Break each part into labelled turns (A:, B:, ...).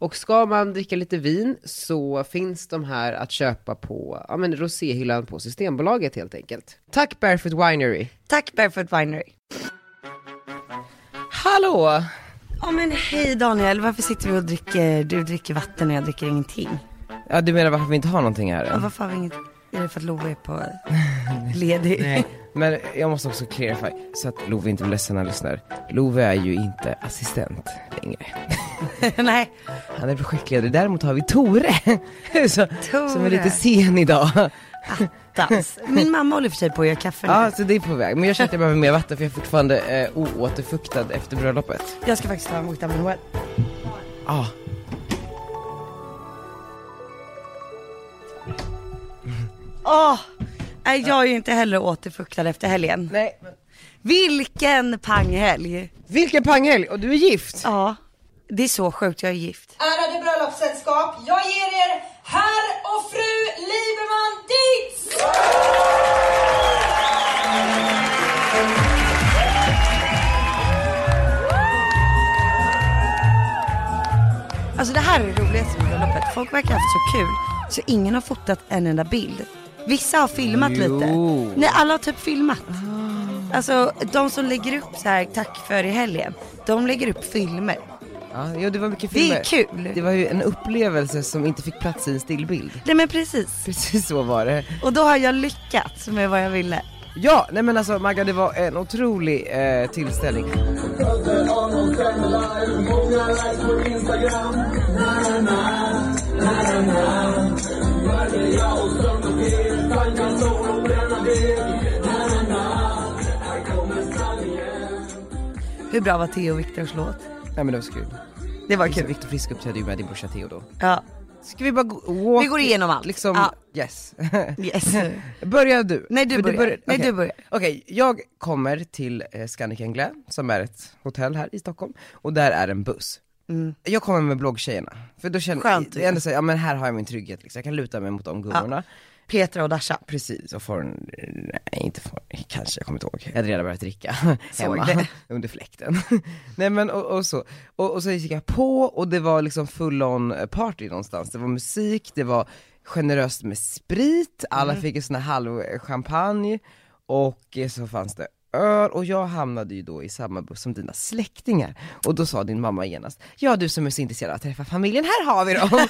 A: Och ska man dricka lite vin så finns de här att köpa på ja, men roséhyllan på Systembolaget helt enkelt. Tack Barefoot Winery!
B: Tack Barefoot Winery.
A: Hallå!
B: Ja men hej Daniel, varför sitter vi och dricker, du dricker vatten och jag dricker ingenting?
A: Ja du menar varför vi inte har någonting här
B: Ja,
A: än?
B: varför har vi inget, är det för att Love är på ledig?
A: Nej, men jag måste också clarify så att Love inte blir ledsen när han lyssnar. Love är ju inte assistent längre.
B: Nej.
A: Han är projektledare, däremot har vi Tore, så, som är
B: Tore.
A: lite sen idag.
B: Dans. Min mamma håller för sig på att göra kaffe nu.
A: Ja, så det är på väg. Men jag känner att jag behöver mer vatten för jag är fortfarande eh, oåterfuktad efter bröllopet.
B: Jag ska faktiskt ta en bokstav med
A: Ja.
B: Åh! Nej, jag är ju inte heller återfuktad efter helgen.
A: Nej,
B: Vilken panghelg!
A: vilken panghelg! Och du är gift!
B: Ja, det är så sjukt, jag är gift.
C: Ärade bröllopssällskap, jag ger er herr och fru Liberman Dietz!
B: Alltså det här är det roligaste med bröllopet. Folk verkar ha haft så kul så ingen har fotat en enda bild. Vissa har filmat
A: Jo.
B: lite. Nej, alla har typ filmat. Alltså de som lägger upp så här tack för i helgen, de lägger upp filmer.
A: Ja, jo, det var mycket
B: Det
A: filmer.
B: är kul.
A: Det var ju en upplevelse som inte fick plats i en stillbild.
B: Nej men precis.
A: Precis så var det.
B: Och då har jag lyckats med vad jag ville.
A: Ja, nej men alltså Magga det var en otrolig eh, tillställning.
B: Hur bra var Theo och Viktors låt?
A: Nej men det var så kul.
B: Det var
A: Kul.
B: kul.
A: Viktor Frisk uppträdde ju med din brorsa Theo då.
B: Ja.
A: Ska vi bara gå... walk-
B: Vi går igenom allt.
A: Liksom,
B: Ja.
A: yes.
B: Yes.
A: Börjar du?
B: Nej, du
A: För
B: börjar. Nej,
A: okej.
B: du börjar.
A: Okej, jag kommer till eh, Scandic Englä, som är ett hotell här i Stockholm, och där är en buss. Jag kommer med bloggtjejerna, för då känner
B: Mm. Skönt. liksom.
A: jag ändå så här, ja men här har jag min trygghet liksom. jag kan luta mig mot de gummorna.
B: Petra och Dasha.
A: Precis, och får en, nej inte får, kanske, jag kommer inte ihåg. Jag hade redan börjat dricka
B: Såg
A: hemma,
B: det.
A: under fläkten. nej men och, och så, och, och så gick jag på och det var liksom full on party någonstans. Det var musik, det var generöst med sprit, alla fick en sån här halv champagne och eh, så fanns det öl och jag hamnade ju då i samma buss som dina släktingar och då sa din mamma genast, ja du som är så intresserad av att träffa familjen, här har vi dem!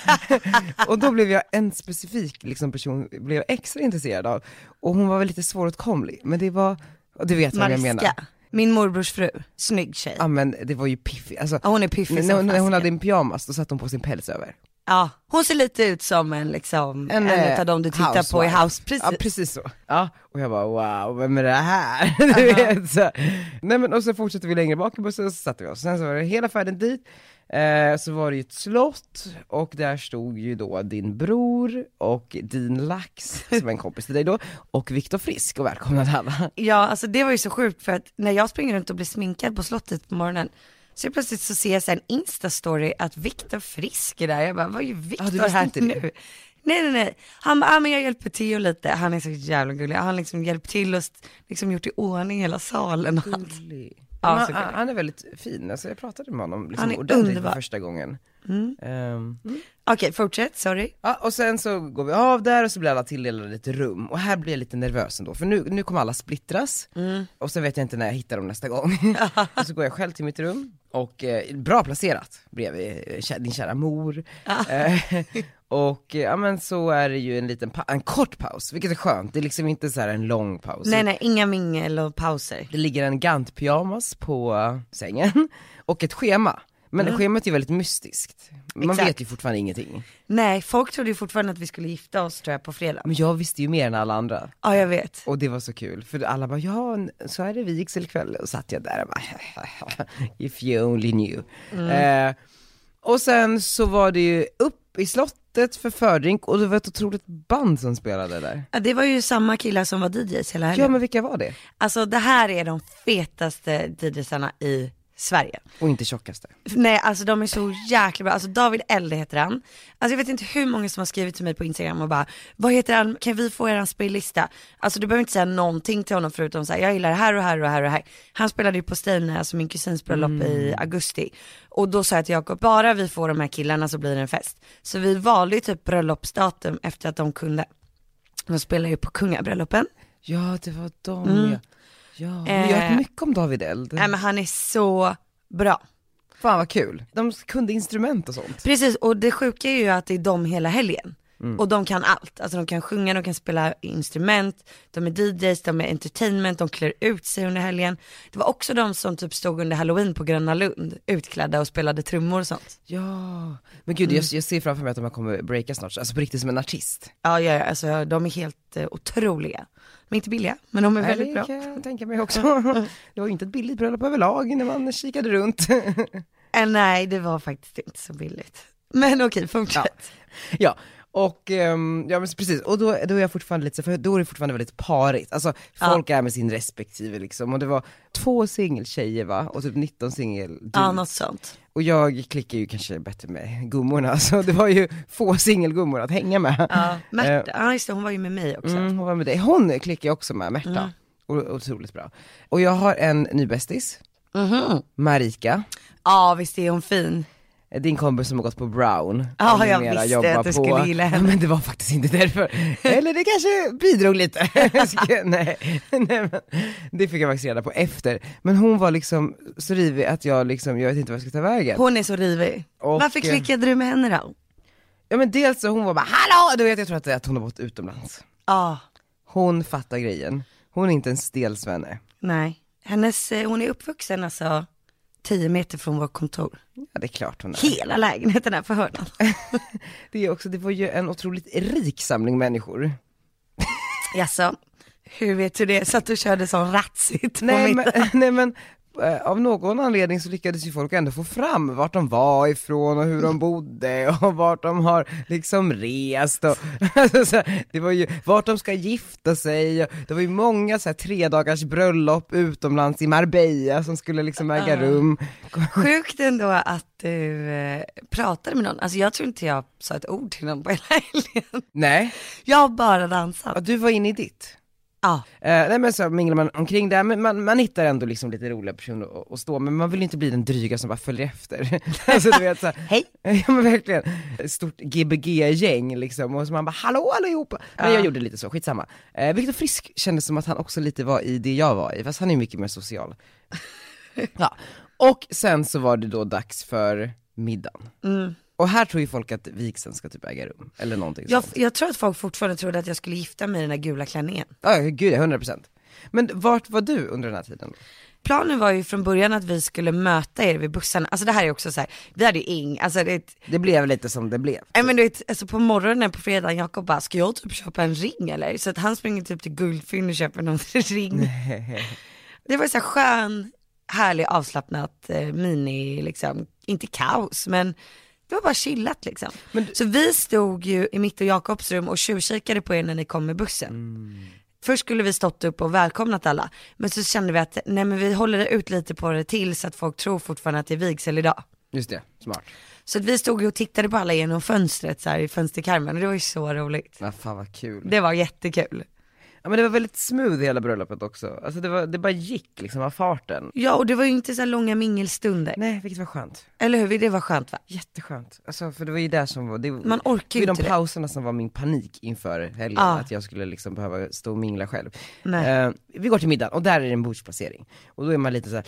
A: och då blev jag en specifik liksom, person, blev jag extra intresserad av och hon var väl lite svåråtkomlig, men det var, och du vet vad jag menar.
B: Mariska. Min morbrors fru. Snygg tjej.
A: Ja men det var ju piffigt, alltså,
B: Ja, hon är piffig
A: när,
B: som
A: hon- när hon
B: fasiken.
A: hade en pyjamas då satte hon på sin päls över.
B: Ja, hon ser lite ut som en liksom, en,
A: eh,
B: utav dem du tittar på i
A: housewife.
B: House, precis.
A: Ja precis så. Ja, och jag bara wow, vem är det här? du
B: Uh-huh.
A: vet, så. Nej men och så fortsatte vi längre bak i bussen och så satte vi oss, sen så var det hela färden dit, eh, så var det ju ett slott och där stod ju då din bror och din lax, som är en kompis till dig då, och Viktor Frisk och välkomnade alla.
B: Ja, alltså det var ju så sjukt för att när jag springer runt och blir sminkad på slottet på morgonen, så plötsligt så ser jag så här en instastory att Viktor Frisk är där. Jag bara, vad är
A: Ja, du
B: Viktor
A: visste
B: här
A: inte det?
B: nu? Nej, nej, nej. Han bara, ah, men jag hjälper Theo lite. Han är så jävla gullig. Han har liksom hjälpt till och st- liksom gjort i ordning hela salen och
A: Mm.
B: allt.
A: Men
B: så
A: han,
B: gullig.
A: han är väldigt fin, alltså jag pratade med honom liksom
B: Han är
A: ordentligt
B: underbar. Mm.
A: för första gången. Ehm,
B: Okej, fortsätt, sorry.
A: Ja, och sen så går vi av där och så blir alla tilldelade ett rum, och här blir jag lite nervös ändå, för nu, nu kommer alla splittras,
B: Mm.
A: och sen vet jag inte när jag hittar dem nästa gång. och så går jag själv till mitt rum, och eh, bra placerat bredvid eh, kä- din kära mor.
B: Ah.
A: Eh, och eh, ja men så är det ju en liten, pa- en kort paus, vilket är skönt, det är liksom inte så här en lång paus.
B: Nej, nej, inga mingel och pauser.
A: Det ligger en Gant-pyjamas på sängen, och ett schema. Men schemat är väldigt mystiskt, man
B: Exakt.
A: vet ju fortfarande ingenting.
B: Nej, folk trodde ju fortfarande att vi skulle gifta oss tror jag på fredag.
A: Men jag visste ju mer än alla andra.
B: Ja, jag vet.
A: Och det var så kul, för alla bara ja, n- så är det vigselkväll, och satt jag där och bara if you only knew. Eh, Och sen så var det ju upp i slottet för fördrink och det var ett otroligt band som spelade där.
B: Ja, det var ju samma killar som var DJs hela helgen.
A: Ja men vilka var det?
B: Alltså det här är de fetaste DJsarna i Sverige.
A: Och inte tjockaste.
B: Nej alltså de är så jäkla bra, alltså David Elde heter han. Alltså jag vet inte hur många som har skrivit till mig på Instagram och bara, vad heter han, kan vi få er spellista? Alltså du behöver inte säga någonting till honom förutom så här, jag gillar det här och här och här och här. Han spelade ju på Stina, alltså min kusins bröllop i augusti. Och då sa jag till Jakob, bara vi får de här killarna så blir det en fest. Så vi valde ju typ bröllopsdatum efter att de kunde. De spelade ju på kungabröllopen.
A: Ja det var de ja. Ja, Mm. vi har
B: Eh.
A: hört mycket om David Eld.
B: Nej men han är så bra.
A: Fan vad kul. De kunde instrument och sånt.
B: Precis, och det sjuka är ju att det är de hela helgen.
A: Mm.
B: Och de kan allt, alltså de kan sjunga, de kan spela instrument, de är DJs, de är entertainment, de klär ut sig under helgen. Det var också de som typ stod under halloween på Gröna Lund, utklädda och spelade trummor och sånt.
A: Ja, men gud jag, jag ser framför mig att de här kommer breaka snart, alltså på riktigt som en artist.
B: Ja, ja, ja, alltså de är helt eh, otroliga. De är inte billiga, men de är väldigt
A: det
B: bra.
A: kan jag tänka mig också. Det var ju inte ett billigt bröllop överlag när man kikade runt.
B: Eh, nej, det var faktiskt inte så billigt. Men okej, fortsätt.
A: Ja, och ehm, ja men precis, och då, då är jag fortfarande lite så- för då är det fortfarande väldigt parigt, alltså folk är med sin respektive liksom, och det var två singeltjejer va, och typ 19 singel
B: Ja, något sånt.
A: Och jag klickar ju kanske bättre med gummorna, så det var ju få singelgummor att hänga med.
B: Ja, Märta, ja just det, hon var ju med mig också.
A: Eh.
B: Mm.
A: Mm, hon var med dig. Hon klickar jag också med, Märta. O- otroligt bra. Och jag har en ny bästis,
B: Mhm.
A: Marika.
B: Ja, visst är hon fin.
A: Din kompis som har gått på Brown.
B: Ja,
A: och
B: Ah, jag
A: numera
B: visste
A: jobbar
B: att du skulle gilla henne.
A: Ja, men det var faktiskt inte därför. Eller det kanske bidrog lite. Ska- nej, nej men, det fick jag faktiskt reda på efter. Men hon var liksom så rivig att jag liksom, jag vet inte vad jag ska ta vägen.
B: Hon är så rivig.
A: Och,
B: Varför
A: eh,
B: klickade du med henne då?
A: Ja men dels så hon var bara hallå, du vet jag tror att, det är att hon har bott utomlands.
B: Ja,
A: Hon fattar grejen. Hon är inte en stel svenne.
B: nej. Hennes, eh, hon är uppvuxen alltså 10 meter från vårt kontor.
A: Ja det är klart hon är.
B: Hela lägenheten är på hörnan.
A: Det, är också, det var ju en otroligt rik samling människor.
B: Jaså, hur vet du det? Så att du körde sån ratsigt på
A: Nej
B: mitt...
A: men, nej, men eh, av någon anledning så lyckades ju folk ändå få fram vart de var ifrån och hur de bodde och vart de har liksom rest och alltså, så här, det var ju vart de ska gifta sig och det var ju många så här, tre dagars bröllop utomlands i Marbella som skulle liksom äga rum.
B: Sjukt ändå att du eh, pratade med någon. Alltså jag tror inte jag sa ett ord till någon på hela helgen.
A: Nej,
B: Jag har bara dansat.
A: ja,
B: Ja,
A: du var inne i ditt. Eh, nej men så minglar man omkring där, men man, man hittar ändå liksom lite roliga personer att- att stå med, man vill ju inte bli den dryga som bara följer efter. alltså du vet såhär,
B: Hej.
A: ja men verkligen, ett stort GBG-gäng liksom, och så man bara hallå allihopa! Men jag gjorde lite så, skitsamma. Eh, Viktor Frisk kändes som att han också lite var i det jag var i, fast han är ju mycket mer social. ja. Och sen så var det då dags för middagen. Och här tror ju folk att vigseln ska typ äga rum, eller någonting
B: jag,
A: sånt.
B: jag tror att folk fortfarande trodde att jag skulle gifta mig i den där gula klänningen.
A: Ja, gud, 100%. Men vart var du under den här tiden?
B: Planen var ju från början att vi skulle möta er vid bussarna, alltså det här är också så här, vi hade ju ing, alltså det är ett,
A: Det blev lite som det blev.
B: Nej men du vet, alltså på morgonen på fredagen, Jakob bara, ska jag typ köpa en ring eller? Så att han springer typ till Guldfynd och köper någon ring. Det var så här skön, härlig, avslappnat eh, mini, liksom, inte kaos men det var bara chillat liksom. Så vi stod ju i mitt och Jakobs rum och tjuvkikade på er när ni kom med bussen. Först skulle vi stått upp och välkomnat alla, men så kände vi att nej men vi håller ut lite på det till så att folk tror fortfarande att det är vigsel idag.
A: Just det, smart.
B: Så att vi stod ju och tittade på alla genom fönstret så här, i fönsterkarmen och det var ju så roligt.
A: Ja, fan vad kul.
B: Det var jättekul.
A: Ja, men det var väldigt smooth hela bröllopet också. Alltså det, var, det bara gick liksom av farten.
B: Ja och det var ju inte så här långa mingelstunder.
A: Nej, vilket var skönt.
B: Eller hur? Det var skönt va?
A: Jätteskönt. Alltså för det var ju där som var, det,
B: Man orkar
A: det var
B: ju
A: de
B: inte det.
A: pauserna som var min panik inför helgen,
B: Ja.
A: att jag skulle liksom behöva stå och mingla själv.
B: Nej.
A: Eh, vi går till middagen och där är det en bordsplacering. Och då är man lite så här.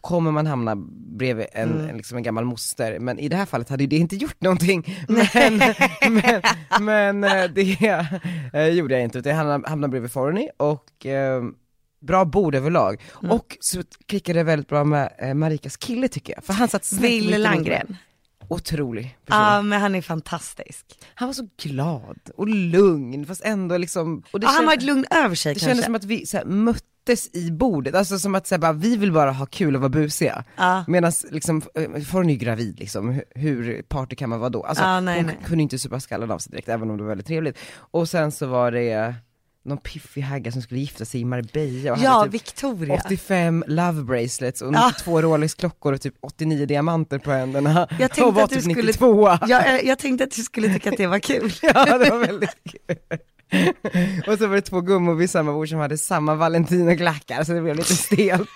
A: kommer man hamna bredvid en,
B: Mm.
A: en, liksom en gammal moster, men i det här fallet hade ju det inte gjort någonting. Men, men, men eh, det eh, gjorde jag inte, utan jag hamnade, hamnade bredvid Forni och eh, Bra bord överlag,
B: Mm.
A: och så klickade det väldigt bra med eh, Marikas kille tycker jag, för han satt snett mitt
B: Ville
A: emot mig.
B: Landgren.
A: Otrolig person.
B: Ja men han är fantastisk.
A: Han var så glad och lugn fast ändå liksom, och det,
B: Ja, han
A: kän-
B: var ett lugn över sig
A: det
B: kanske.
A: kändes som att vi så här, mötte möttes i bordet, alltså som att säga bara, vi vill bara ha kul och vara busiga.
B: Ja.
A: Medan liksom, eh, för hon är ju gravid liksom, Hur- hur party kan man vara då? Alltså
B: Ja, nej,
A: hon
B: nej.
A: kunde inte supa skallen av sig direkt, även om det var väldigt trevligt. Och sen så var det någon piffig hagga som skulle gifta sig i Marbella och
B: Ja,
A: hade typ
B: Victoria.
A: 85 love bracelets och
B: Ja.
A: 92 Rolex-klockor och typ 89 diamanter på händerna.
B: Jag tänkte
A: och var
B: att du
A: typ
B: skulle-
A: 92.
B: Jag, eh, jag tänkte att du skulle tycka att det var kul.
A: Ja det var väldigt kul. Och så var det två gummor vid samma bord som hade samma valentinoklackar så det blev lite stelt.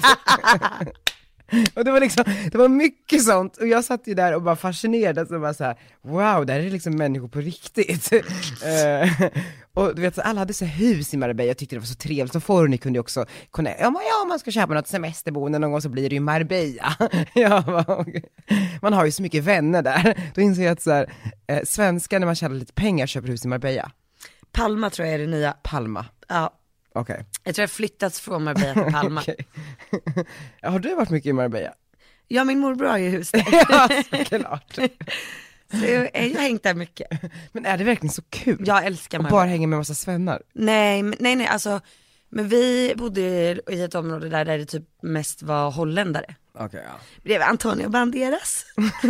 A: och det var liksom, det var mycket sånt och jag satt ju där och bara fascinerades och bara så här: wow det här är liksom människor på riktigt. Eh, och du vet, så alla hade så här hus i Marbella, jag tyckte det var så trevligt, och Forni kunde ju också, kunna, ja, men, ja om man ska köpa något semesterboende någon gång så blir det ju Marbella. ja, bara, okej. man har ju så mycket vänner där. Då inser jag att så här, eh, svenskar när man tjänar lite pengar köper hus i Marbella,
B: Palma tror jag är det nya.
A: Palma,
B: Ja,
A: okej.
B: jag tror jag flyttats från Marbella till Palma.
A: Okej. Ja, har du varit mycket i Marbella?
B: Ja, min morbror har ju hus där.
A: ja, såklart.
B: Så jag, jag har hängt där mycket.
A: Men är det verkligen så kul?
B: Jag älskar
A: och
B: Marbella.
A: bara hänga med massa svennar?
B: Nej, men- nej, nej, alltså. Men vi bodde i ett område där, där det typ mest var holländare.
A: Okej, ja.
B: Bredvid Antonio Banderas.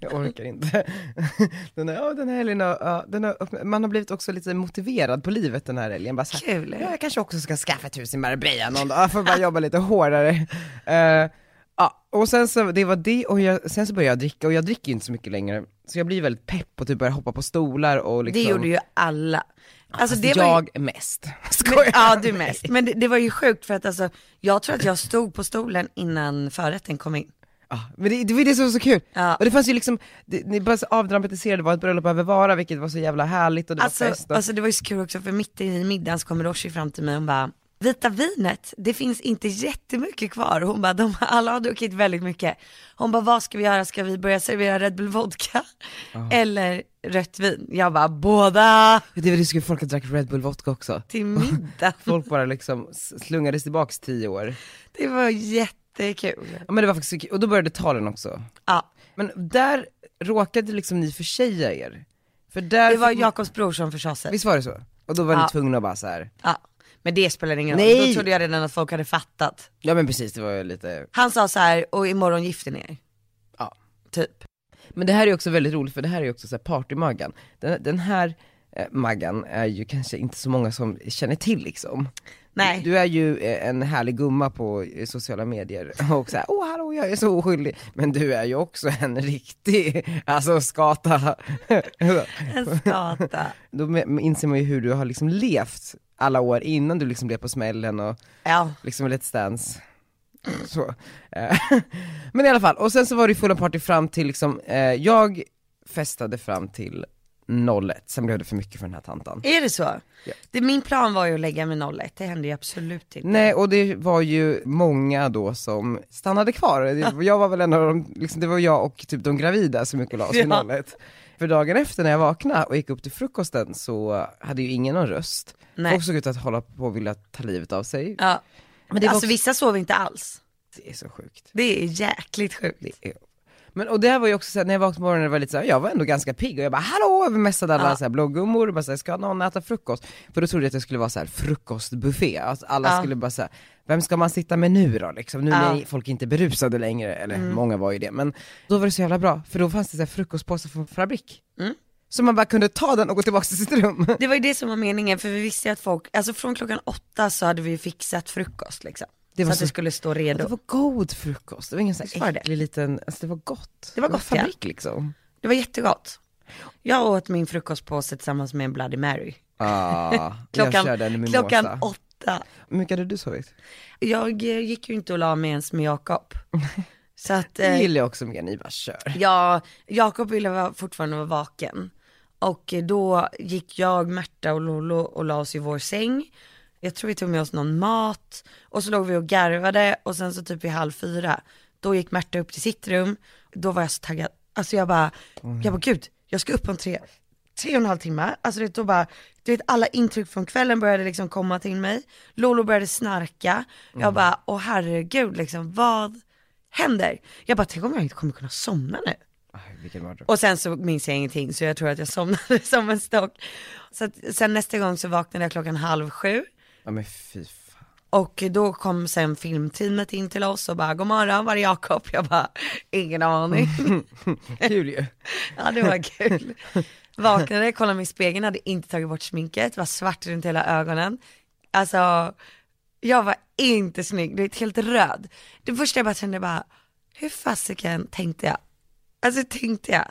A: Jag orkar inte. Den här, ja, den här helgen har, ja, den har, öppnat- man har blivit också lite motiverad på livet den här helgen. Bara så här,
B: Kul.
A: Ja, jag kanske också ska skaffa ett hus i Marbella någon dag, för att bara jobba lite hårdare. Eh, ja, och sen så, det var det, och jag, sen så började jag dricka, och jag dricker ju inte så mycket längre. Så jag blir väldigt pepp och typ börjar hoppa på stolar och
B: Det
A: liksom.
B: gjorde ju alla. Alltså
A: Fast
B: det var ju...
A: jag mest. Skojar.
B: Men, ja du mest. Men det, det var ju sjukt för att alltså, jag tror att jag stod på stolen innan förrätten kom in.
A: Ja, men det, det var det som var så kul.
B: Ja.
A: Och det fanns ju liksom, det, ni bara så avdramatiserade vad ett bröllop behöver vara, vilket var så jävla härligt och det
B: Alltså,
A: var fest. Och,
B: alltså det var ju så kul också för mitt i middagen så kommer Roshi fram till mig och bara, vita vinet, det finns inte jättemycket kvar. Hon bara, de, alla har druckit väldigt mycket. Hon bara, vad ska vi göra? Ska vi börja servera Red Bull vodka?
A: Ah.
B: Eller rött vin? Jag bara, båda
A: det var det skulle folk ha drack Red Bull vodka också.
B: till middag.
A: Folk bara liksom s- slungades tillbaks tio år.
B: Det var jättekul.
A: Ja men det var faktiskt så kul, och då började talen också.
B: Ja,
A: Men där råkade liksom ni förtjäja er. För där,
B: det var
A: fick-
B: Jakobs bror som försade sig.
A: visst var det så? Och då var ni
B: Ja.
A: tvungna att bara så här.
B: Ja, men det spelar ingen roll.
A: Nej.
B: Då trodde jag redan att folk hade fattat.
A: ja men precis det var ju lite
B: Han sa så här, och imorgon gifter ni er.
A: Ja.
B: Typ.
A: Men det här är också väldigt roligt för det här är också så här partymaggan. Den, den här eh, Maggan är ju kanske inte så många som känner till liksom.
B: Nej.
A: Du, du är ju eh, en härlig gumma på eh, sociala medier och såhär, åh hallå jag är så oskyldig. Men du är ju också en riktig, alltså skata.
B: En skata.
A: Då me- inser man ju hur du har liksom levt alla år innan du liksom blev på smällen och
B: Ja.
A: liksom Let's Dance. Så. Eh, Men i alla fall, och sen så var det ju full party fram till liksom, eh, jag festade fram till 01, sen blev det för mycket för den här tantan.
B: Är det så? Det, min plan var ju att lägga mig 01, det hände ju absolut inte.
A: Nej, och det var ju många då som stannade kvar. Det- Jag var väl en av de, liksom, det var jag och typ de gravida som gick och la oss
B: Ja.
A: vid 01. För dagen efter när jag vaknade och gick upp till frukosten så hade ju ingen någon röst.
B: Nej.
A: Folk såg ut att hålla på och vilja ta livet av sig.
B: Ja.
A: Men det var
B: alltså
A: också-
B: vissa sov inte alls.
A: Det är så sjukt.
B: Det är jäkligt sjukt.
A: Det är- Men och det här var ju också såhär, när jag vaknade på morgonen det var lite såhär, jag var ändå ganska pigg och jag bara hallå, jag messade alla
B: Ja.
A: så här bloggummor och bara såhär, ska någon äta frukost? För då trodde jag att det skulle vara såhär frukostbuffé, att alla
B: Ja.
A: skulle bara säga vem ska man sitta med nu då liksom? Nu
B: Ja. Mm.
A: när folk inte är berusade längre, eller många var ju det, men då var det så jävla bra, för då fanns det såhär frukostpåsar från Fabrik.
B: Mm.
A: Så man bara kunde ta den och gå tillbaka till sitt rum.
B: Det var ju det som var meningen för vi visste ju att folk, alltså från klockan åtta så hade vi ju fixat frukost liksom.
A: Det var
B: så att
A: så-
B: det skulle stå
A: Det
B: redo.
A: var god frukost, det var ingen sån
B: var
A: här
B: det?
A: äcklig liten, alltså det var gott.
B: Det var gott, ja.
A: Fabrik liksom.
B: Det var jättegott. Jag åt min frukostpåse tillsammans med en Bloody Mary.
A: Ah, jag körde en
B: Klockan,
A: mimosa.
B: klockan åtta.
A: Hur mycket hade du sovit?
B: Jag eh, gick ju inte och la mig ens med Jakob. Så att,
A: Det
B: eh,
A: gillar jag också med ni bara kör.
B: jag, Jakob ville vara, fortfarande vara vaken. Och eh, då gick jag, Märta och Lollo och la oss i vår säng. Jag tror vi tog med oss någon mat och så låg vi och garvade och sen så typ vid halv fyra, då gick Märta upp till sitt rum. Då var jag så taggad, alltså jag bara, jag bara gud, jag ska upp om tre, tre och en halv timme. Alltså du vet, då bara, du vet alla intryck från kvällen började liksom komma till mig. Lolo började snarka, jag bara, åh herregud liksom, vad händer? Jag bara, tänk om jag inte kommer kunna somna nu.
A: Aj, vilken mardröm.
B: Och sen så minns jag ingenting så jag tror att jag somnade som en stock. Så att, sen nästa gång så vaknade jag klockan halv sju.
A: Ja men fy fan.
B: Och då kom sen filmteamet in till oss och bara, god morgon var är Jakob? Jag bara, ingen aning.
A: Kul ju.
B: Ja det var kul. Vaknade, kollade mig i spegeln, hade inte tagit bort sminket, var svart runt hela ögonen. Alltså, jag var inte snygg, du vet helt röd. Det första jag bara kände bara, hur fasiken tänkte jag? Alltså tänkte jag?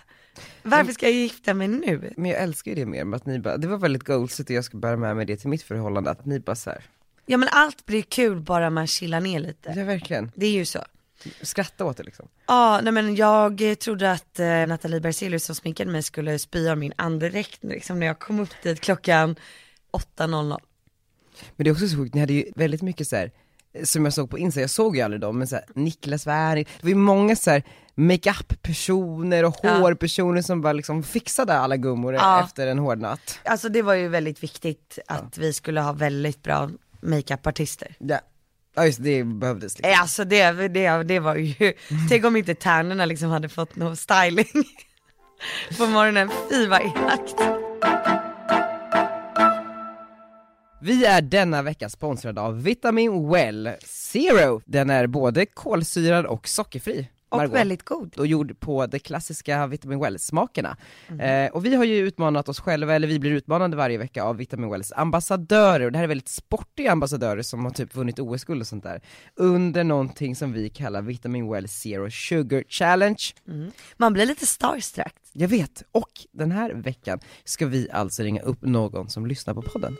B: Varför ska jag gifta mig nu?
A: Men jag älskar ju det mer med att ni bara, det var väldigt goalsigt och jag ska bära med mig det till mitt förhållande, att ni bara såhär,
B: Ja men allt blir kul bara man chillar ner lite.
A: ja verkligen,
B: Det är ju så.
A: skratta åt det liksom.
B: Ja, nej men jag eh, trodde att eh, Nathalie Berzelius som sminkade mig skulle spy av min andedräkt liksom, när jag kom upp dit klockan 8.00.
A: Men det är också så sjukt, ni hade ju väldigt mycket så här. som jag såg på Insta, jag såg ju aldrig dem, men så här, Niklas Wärn, det var ju många så här makeup-personer och
B: Ja.
A: hårpersoner som bara liksom fixade alla gummor
B: Ja.
A: efter en hård natt.
B: Alltså det var ju väldigt viktigt att vi skulle ha väldigt bra makeupartister.
A: Ja, ja just det, det behövdes liksom.
B: Eh, Alltså det, det, det var ju, tänk om inte tärnorna liksom hade fått någon styling på morgonen. Fy vad elakt.
A: Vi är denna vecka sponsrade av Vitamin Well Zero. Den är både kolsyrad och sockerfri.
B: Och
A: Margot.
B: väldigt god.
A: och gjord på de klassiska Vitamin Well-smakerna.
B: Mhm.
A: Eh, och vi har ju utmanat oss själva, eller vi blir utmanade varje vecka av Vitamin Wells ambassadörer, och det här är väldigt sportiga ambassadörer som har typ vunnit OS-guld och sånt där, under någonting som vi kallar Vitamin Well Zero Sugar Challenge.
B: Man blir lite starstruck.
A: Jag vet, och den här veckan ska vi alltså ringa upp någon som lyssnar på podden.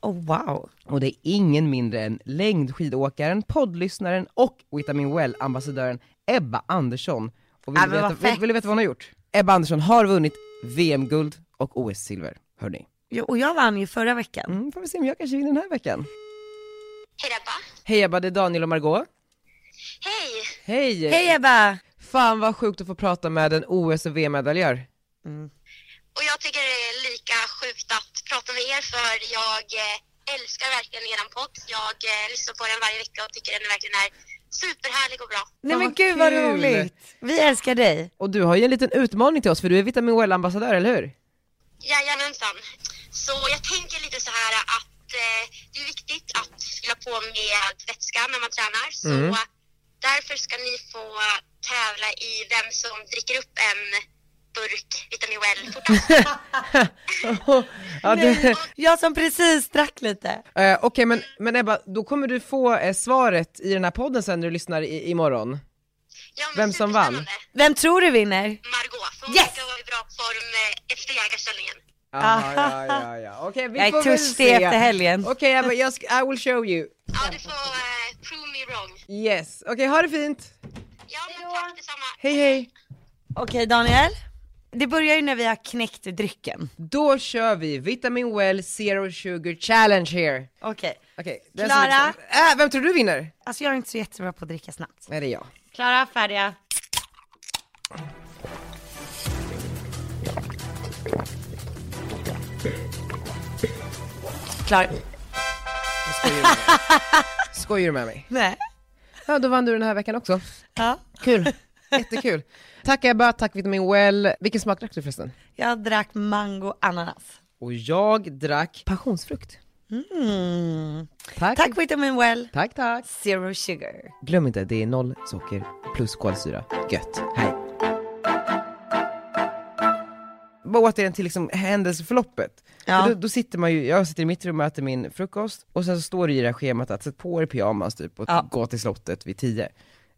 B: Oh wow.
A: Och det är ingen mindre än längdskidåkaren, poddlyssnaren och Vitamin Well-ambassadören Ebba Andersson. Och vill,
B: Ja,
A: du
B: men
A: veta,
B: vad fett.
A: vill, vill du veta vad hon har gjort? Ebba Andersson har vunnit VM-guld och OS-silver, hörni.
B: Jo, Och jag vann ju förra veckan.
A: Mm, får vi se om jag kanske vinner den här veckan.
D: Hej Ebba.
A: Hej Ebba, det är Daniel och Margot.
D: Hej.
A: Hej!
B: Hej Ebba!
A: Fan vad sjukt att få prata med en OS och VM-medaljör.
D: Och jag tycker det är lika sjukt att prata med er för jag eh, älskar verkligen eran podd. Jag eh, lyssnar på den varje vecka och tycker den verkligen är superhärlig och bra.
B: Nej
A: Fan,
B: men
A: vad
B: gud vad
A: kul.
B: roligt. Vi älskar dig.
A: Och du har ju en liten utmaning till oss för du är Vitamin Well-ambassadör, eller hur?
D: Jajamensan. Så jag tänker lite så här att eh, det är viktigt att fylla på med vätska när man tränar. Så
A: Mm.
D: därför ska ni få tävla i vem som dricker upp en burk Vitamin Well fortast.
A: Ja, det-
B: Jag som precis drack lite.
A: Eh, Okej, men, men Ebba, då kommer du få eh, svaret i den här podden sen när du lyssnar i, imorgon.
D: Ja, men
A: Vem som vann?
D: superspännande.
B: Vem tror du vinner?
D: Margot, för hon
B: Yes!
D: ska vara i bra form eh, efter jägarställningen.
A: Aha, ja, ja, ja. Okej, vi
B: Jag är
A: får väl
B: törstig
A: se.
B: efter helgen.
A: Okej, Ebba, jag ska, I will show you.
D: Ja, du får eh, prove me wrong.
A: Yes. Okej, ha det fint.
D: Ja, men tack detsamma.
A: Hej, hej.
B: Okej Daniel, det börjar ju när vi har knäckt drycken.
A: Då kör vi Vitamin Well Zero Sugar Challenge here.
B: Okej,
A: Okej, den som
B: Klara?
A: Liksom, äh, vem tror du vinner?
B: alltså jag är inte så jättebra på att dricka snabbt.
A: Nej, det är jag.
B: Klara, färdiga. Klar.
A: Skojar du med mig?
B: Nej.
A: Ja, då vann du den här veckan också.
B: Ja.
A: Kul. Jättekul. Tack Ebba, tack Vitamin Well. Vilken smak drack du förresten?
B: Jag drack mango ananas.
A: Och jag drack passionsfrukt.
B: Mm.
A: Tack.
B: Tack Vitamin Well,
A: Tack, tack.
B: zero sugar.
A: Glöm inte, det är noll socker plus kolsyra. Gött. Hej. Bara återigen till liksom händelseförloppet.
B: Ja.
A: För Då, då sitter man ju, jag sitter i mitt rum och äter min frukost, och sen så står det i det här schemat att sätta på er pyjamas typ och
B: Ja.
A: gå till slottet vid tio.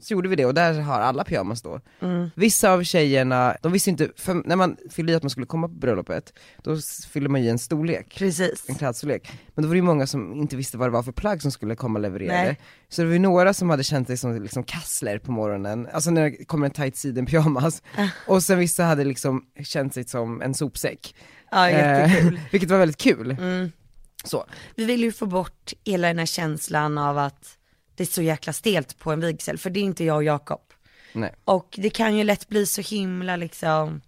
A: Så gjorde vi det och där har alla pyjamas då.
B: Mm.
A: Vissa av tjejerna, de visste inte, för när man fyllde i att man skulle komma på bröllopet, då s- fyller man i en storlek
B: Precis.
A: en klädstorlek. Men då var det ju många som inte visste vad det var för plagg som skulle komma levererade.
B: Nej.
A: Så det var ju några som hade känt sig som liksom kassler på morgonen, alltså när det kommer en tight siden pyjamas.
B: Ah.
A: Och sen vissa hade liksom känt sig som en sopsäck.
B: Ja, jättekul. Mm.
A: Eh, vilket var väldigt kul. Så.
B: Vi vill ju få bort hela den här känslan av att det är så jäkla stelt på en vigsel, för det är inte jag och Jakob.
A: Nej.
B: Och det kan ju lätt bli så himla liksom,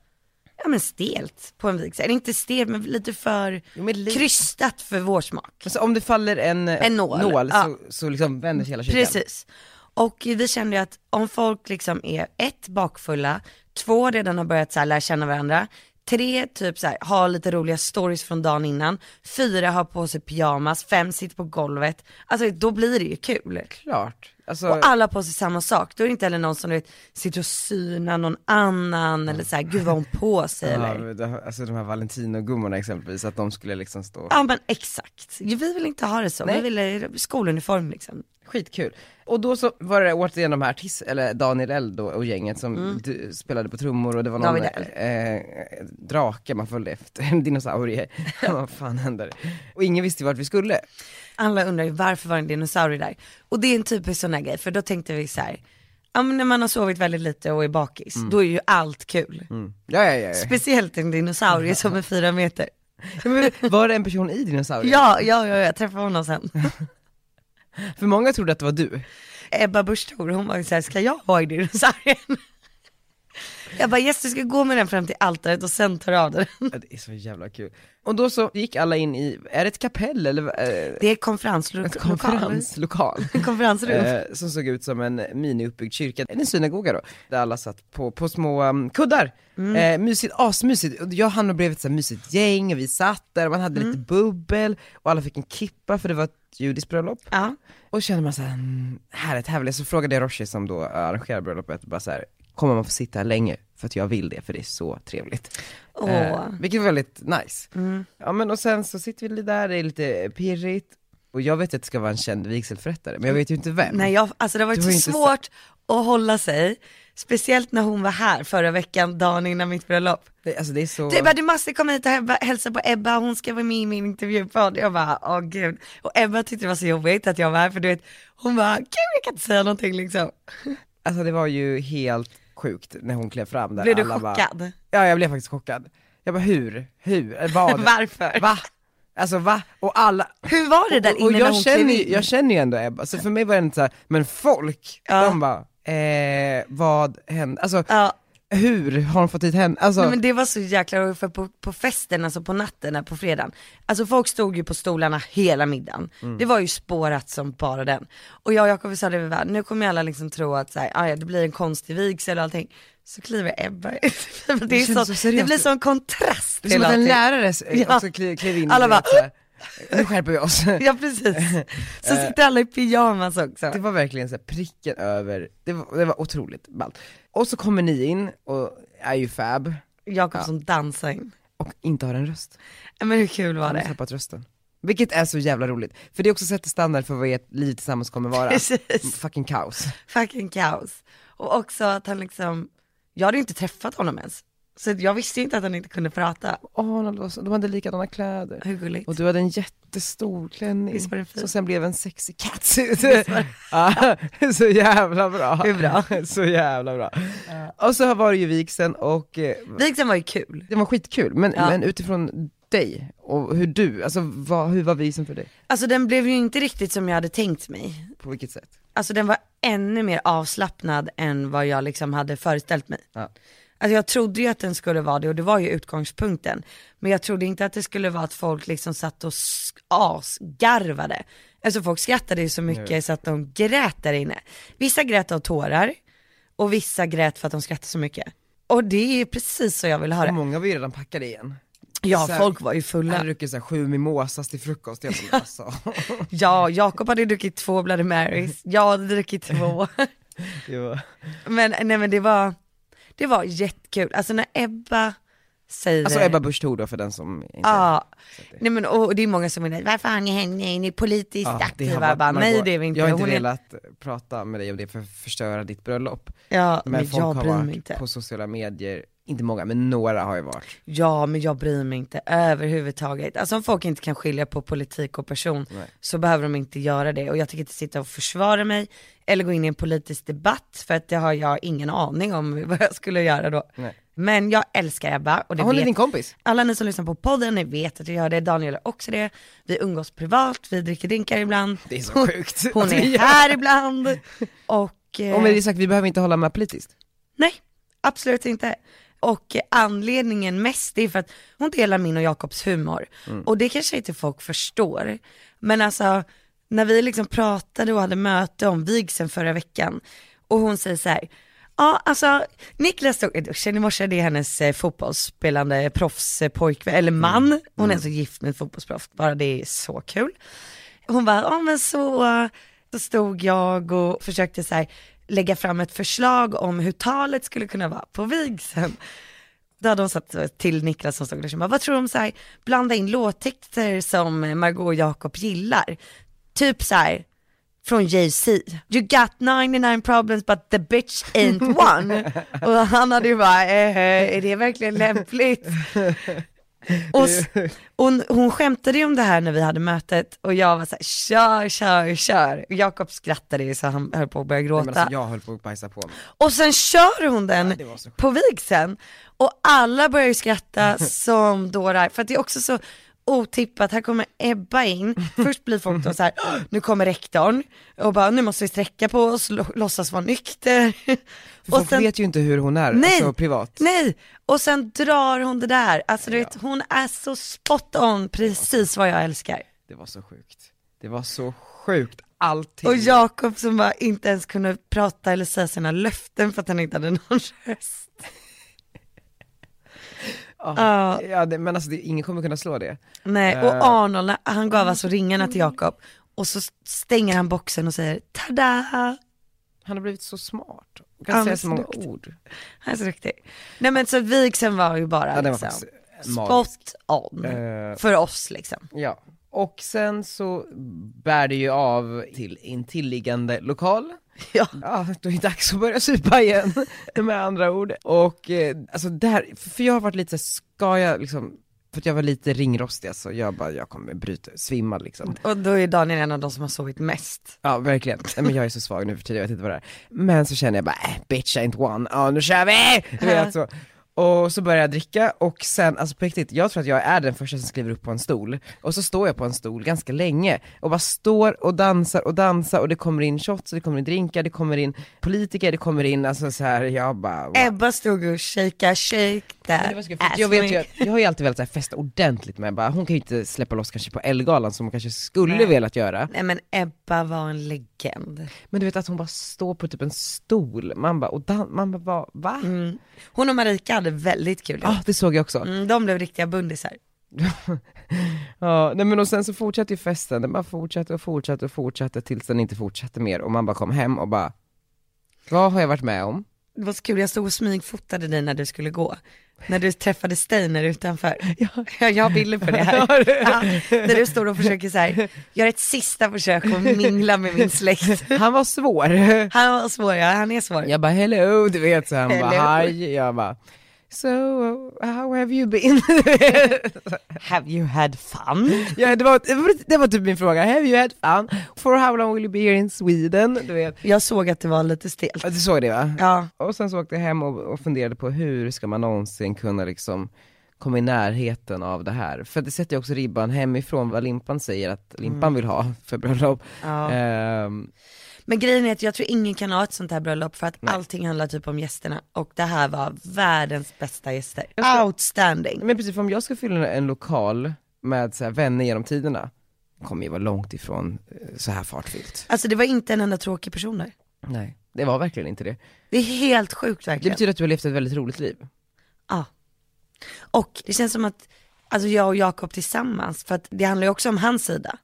B: ja men stelt på en vigsel. Eller Inte stelt men lite för
A: Jo, men lite.
B: krystat för vår smak.
A: Men Så om det faller en, eh,
B: En nål,
A: så,
B: ja.
A: så liksom vänder sig hela kyrkan.
B: Precis. Och vi kände ju att om folk liksom är ett, bakfulla, två, redan har börjat så här lära känna varandra, Tre, typ så här, ha lite roliga stories från dagen innan. Fyra, ha på sig pyjamas. Fem, sitt på golvet. Alltså då blir det ju kul.
A: Klart. Alltså,
B: Och alla har på sig samma sak. Då är det inte heller någon som du vet, sitter och synar någon annan eller så här, gud vad hon på sig
A: Mm. ja,
B: eller.
A: men det- alltså de här Valentino-gummorna exempelvis, att de skulle liksom stå
B: Ja men exakt. Vi vill inte ha det så.
A: Nej.
B: Vi vill ha skoluniform liksom.
A: Skitkul. Och då så var det återigen de här artist, eller Daniel Eld då, och gänget som du, spelade på trummor och det var någon
B: David Eld.
A: eh, drake man följde efter, en dinosaurie. Vad fan händer? Och ingen visste vart vi skulle.
B: Alla undrar ju varför var en dinosaurie där? Och det är en typisk sån här grej, för då tänkte vi så här, ja men när man har sovit väldigt lite och är bakis, då är ju allt kul.
A: Mm. Ja, ja, ja. ja.
B: Speciellt en dinosaurie som är fyra meter.
A: ja men, var det en person i dinosaurien?
B: Ja, ja, ja, jag träffade honom sen.
A: För många trodde att det var du.
B: Ebba Busch Thor, hon var ju såhär, ska jag vara i dinosaurien? Jag bara, yes du ska gå med den fram till altaret och sen tar du av den.
A: Ja, Det är så jävla kul. Och då så gick alla in i, är det ett kapell eller? Eh,
B: Det är ett konferenslokal.
A: ett konferenslokal.
B: Konferensrum.
A: Eh, som såg ut som en miniuppbyggd kyrka, en synagoga då, där alla satt på, på små um, kuddar. Eh, mysigt, asmysigt. Och jag och Hanna blev ett så här mysigt gäng, och vi satt där, man hade lite bubbel, och alla fick en kippa för det var ett judiskt bröllop.
B: Ja.
A: Och kände man såhär, mm, härligt, härligt. Så frågade jag Roshi som då arrangerar bröllopet, bara så här, kommer man få sitta här länge? För att jag vill det, för det är så trevligt. Eh,
B: Åh. Mm.
A: vilket var väldigt nice. Ja men och sen så sitter vi där, det är lite pirrigt, och jag vet att det ska vara en känd vigselförrättare, men jag vet ju inte vem.
B: Nej, jag, alltså det har
A: Det
B: varit
A: var
B: så
A: inte
B: svårt att hålla sig, speciellt när hon var här förra veckan, dagen innan mitt bröllop.
A: Det, alltså det är så...
B: Du, Ebba, du måste komma hit och hebba- hälsa på Ebba, hon ska vara med i min intervjupodd. Jag bara, åh gud. Och Ebba tyckte det var så jobbigt att jag var här, för du vet, hon bara, gud jag kan inte säga någonting liksom.
A: Alltså det var ju helt sjukt när hon klev fram där.
B: Blev du
A: Alla
B: chockad?
A: Bara, ja jag blev faktiskt chockad. Jag bara hur? Hur? Eh, Vad?
B: Varför?
A: Va? Alltså va? Och alla...
B: Hur var det där
A: och
B: inne när
A: jag,
B: hon
A: känner,
B: klev
A: ju-
B: in?
A: jag känner ju ändå Ebba, så för mig var det inte såhär, men folk,
B: Ja.
A: de bara, eh, vad hände? Alltså
B: Ja,
A: hur har hon fått hit henne? Alltså,
B: Nej, men det var så jäkla roligt för på, på festen, alltså på natten, här på fredagen, alltså folk stod ju på stolarna hela middagen.
A: Mm.
B: Det var ju spårat som bara den. Och jag och Jakob vi sa det, vi bara, nu kommer ju alla liksom tro att så här, "Ah, ja, det blir en konstig vigsel och allting. Så kliver Ebba ut. det, är
A: känns
B: så,
A: så seriöst.
B: det blir sån kontrast
A: det är som
B: till
A: att en
B: allting.
A: lärare s-
B: Ja.
A: också klev, Alltså, klev in
B: Alla
A: du vet,
B: bara-
A: så här, nu skärper vi oss.
B: Ja precis. Så
A: Eh.
B: sitter alla i pyjamas också.
A: Det var verkligen så här pricken över, det var, det var otroligt ballt. Och så kommer ni in och är ju fab,
B: Jakob som dansar in.
A: och inte har en röst.
B: Ja, Men hur kul var
A: Han har
B: det?
A: tappat rösten. Vilket är så jävla roligt, för det också sätter standard för vad ert liv tillsammans kommer vara.
B: Precis.
A: Fucking kaos.
B: fucking kaos. Och också att han liksom, jag hade ju inte träffat honom ens. Så jag visste ju inte att han inte kunde prata.
A: Arnold var så, de hade likadana kläder.
B: Hur gulligt.
A: Och du hade en jättestor klänning.
B: Visst var den fin?
A: Som sen blev en sexy catsuit. Ja, så jävla bra.
B: Hur bra?
A: Så jävla bra. Och så var det ju vigseln och eh,
B: Vigseln var ju kul.
A: det var skitkul, men,
B: Ja.
A: men utifrån dig och hur du, alltså vad, hur var vigseln för dig?
B: Alltså den blev ju inte riktigt som jag hade tänkt mig.
A: På vilket sätt?
B: Alltså den var ännu mer avslappnad än vad jag liksom hade föreställt mig.
A: Ja.
B: Alltså jag trodde ju att den skulle vara det och det var ju utgångspunkten. Men jag trodde inte att det skulle vara att folk liksom satt och sk- asgarvade. Alltså folk skrattade ju så mycket så att de grät där inne. Vissa grät av tårar och vissa grät för att de skrattade så mycket. Och det är precis så jag vill
A: Och
B: höra.
A: många var ju redan packade igen.
B: Ja,
A: Mm. så här-
B: folk var ju
A: Jag
B: fulla.
A: hade druckit såhär sju mimosas till frukost, jag bara, alltså.
B: Ja, Jakob hade druckit två Bloody Marys,
A: Mm.
B: jag hade druckit två.
A: Det var-
B: Men nej men det var, det var jättekul. Alltså när Ebba säger
A: Alltså Ebba Busch Thor då för den som inte...
B: Ja, nej men och det är många som är varför har ni henne, är ni politiskt
A: Ja, det har
B: aktiva?
A: varit-
B: Jag bara,
A: man
B: nej
A: går-
B: det är vi inte.
A: Jag har inte
B: Hon är-
A: velat prata med dig om det för att förstöra ditt bröllop.
B: Ja,
A: Men,
B: men
A: folk
B: jag
A: har
B: bryr
A: varit
B: mig inte.
A: på sociala medier, inte många men några har ju varit.
B: Ja men jag bryr mig inte överhuvudtaget. Alltså om folk inte kan skilja på politik och person så behöver de inte göra det. Och jag tänker inte sitta och försvara mig eller gå in i en politisk debatt för att det har jag ingen aning om vad jag skulle göra då.
A: Nej.
B: Men jag älskar Ebba och det
A: Hon är
B: vet
A: din kompis.
B: Alla ni som lyssnar på podden, ni vet att jag gör det, Daniel gör också det. Vi umgås privat, vi dricker drinkar ibland.
A: Det är så sjukt.
B: Hon
A: Alltså,
B: är
A: ja.
B: här ibland. Och, eh,
A: Och med det sagt, vi behöver inte hålla med politiskt.
B: nej, absolut inte. Och eh, anledningen mest är för att hon delar min och Jakobs humor. Och det kanske inte folk förstår. Men alltså, när vi liksom pratade och hade möte om vigseln förra veckan och hon säger så här, Ja, alltså Niklas stod i duschen i morse, det är hennes eh, fotbollsspelande proffspojkvän, eller man. Hon är så gift med ett fotbollsproffs, bara det är så kul. Hon bara, ja men så, eh, så stod jag och försökte så här, lägga fram ett förslag om hur talet skulle kunna vara på vigseln. Då hade hon satt till Niklas som stod i duschen, bara, vad tror du om så här, blanda in låttexter som Margot och Jakob gillar? Typ så här, från Jay-Z. You got 99 problems but the bitch ain't one. och han hade ju bara, eh, eh, är det verkligen lämpligt? och s- hon, hon skämtade ju om det här när vi hade mötet och jag var så här, kör, kör, kör. Och Jakob skrattade ju så han höll på att börja gråta.
A: Men alltså jag höll på att bajsa på mig.
B: Och sen kör hon den
A: det var så sjukt.
B: på vigseln och alla börjar ju skratta som dårar för att det är också så otippat, här kommer Ebba in, först blir folk då så här, "Åh, nu kommer rektorn och bara nu måste vi sträcka på oss, lå- låtsas vara nykter.
A: För folk vet ju inte hur hon är,
B: Nej.
A: alltså privat.
B: Nej, och sen drar hon det där, alltså du vet hon är så spot on, precis vad jag älskar.
A: Det var så sjukt. Det var så sjukt, allting.
B: Och Jakob som bara inte ens kunde prata eller säga sina löften för att han inte hade någon röst.
A: ja. Ah. Ja, det, men alltså det, ingen kommer kunna slå det.
B: Nej, och
A: Eh.
B: Arnold, när- han gav alltså ringarna till Jakob och så stänger han boxen och säger tada, han
A: Han har blivit så smart. Han
B: Ja,
A: kan säga
B: men
A: så många
B: snyggt.
A: ord.
B: är så duktig. Nej men så vigseln var ju bara
A: Ja, den var
B: liksom,
A: faktiskt magisk.
B: spot on
A: Eh.
B: för oss liksom.
A: Ja. Och sen så bär det ju av till intilliggande lokal.
B: Ja.
A: Ja, då är det dags att börja supa igen, med andra ord. Och eh, alltså där, för jag har varit lite, så här, ska jag liksom, för att jag var lite ringrostig alltså, jag bara, jag kommer bryta, svimma liksom.
B: Och då är Daniel en av de som har sovit mest.
A: Ja verkligen, Nej, men jag är så svag nu för tiden, jag vet inte vad det är. Men så känner jag bara, äh, bitch ain't one, ja nu kör vi! Du vet, så. Och så börjar jag dricka och sen, alltså på riktigt, jag tror att jag är den första som skriver upp på en stol. Och så står jag på en stol ganska länge och bara står och dansar och dansar och det kommer in shots, och det kommer in drinkar, det kommer in politiker, det kommer in, alltså så här, jag bara wow.
B: Ebba stod och shakea, shake
A: Men
B: that
A: det var så kul, för
B: ass
A: jag, vet ju,
B: wing.
A: att- jag har ju alltid velat så här, festa ordentligt med bara, hon kan ju inte släppa loss kanske på Ellegalan som hon kanske skulle
B: Nej.
A: velat göra.
B: Nej men Ebba var en legend.
A: Men du vet att hon bara står på typ en stol, man bara, och dan- man bara, va? va?
B: Mm. Hon och Marika hade väldigt kul.
A: Ja, det såg jag också.
B: Mm, de blev riktiga bundisar.
A: Ja, nej men och sen så fortsatte ju festen, den bara fortsatte och fortsatte och fortsatte tills den inte fortsatte mer och man bara kom hem och bara, vad har jag varit med om?
B: Det var så kul, jag stod och smygfotade dig när du skulle gå. När du träffade Steiner utanför. Ja. Jag har bilder på det här. Ja, när du står och försöker så här, gör ett sista försök och mingla med min släkt.
A: Han var svår.
B: Han var svår, ja, han är svår.
A: Jag bara hello, du vet så han bara
B: Hello.
A: hi, jag bara So, how have you been?
B: Have you had fun?
A: ja, det, var, det, var, det var typ min fråga, have you had fun? For how long will you be here in Sweden? Du vet.
B: Jag såg att det var lite stelt.
A: Ja, Du såg det va?
B: Ja,
A: Och sen så åkte jag hem och, och funderade på hur ska man någonsin kunna liksom komma i närheten av det här. För det sätter ju också ribban hemifrån vad Limpan säger att Limpan vill ha för bröllop.
B: Mm. ja.
A: Ehm,
B: Men grejen är att jag tror ingen kan ha ett sånt här bröllop för att allting handlar typ om gästerna och det här var världens bästa gäster.
A: ska-
B: Outstanding.
A: men precis, för om jag ska fylla en lokal med så här vänner genom tiderna, kommer ju vara långt ifrån eh, så här fartfyllt.
B: Alltså det var inte en enda tråkig person där.
A: Nej, det var verkligen inte det.
B: Det är helt sjukt verkligen.
A: Det betyder att du har levt ett väldigt roligt liv.
B: Ja. Och det känns som att, alltså jag och Jakob tillsammans, för att det handlar ju också om hans sida.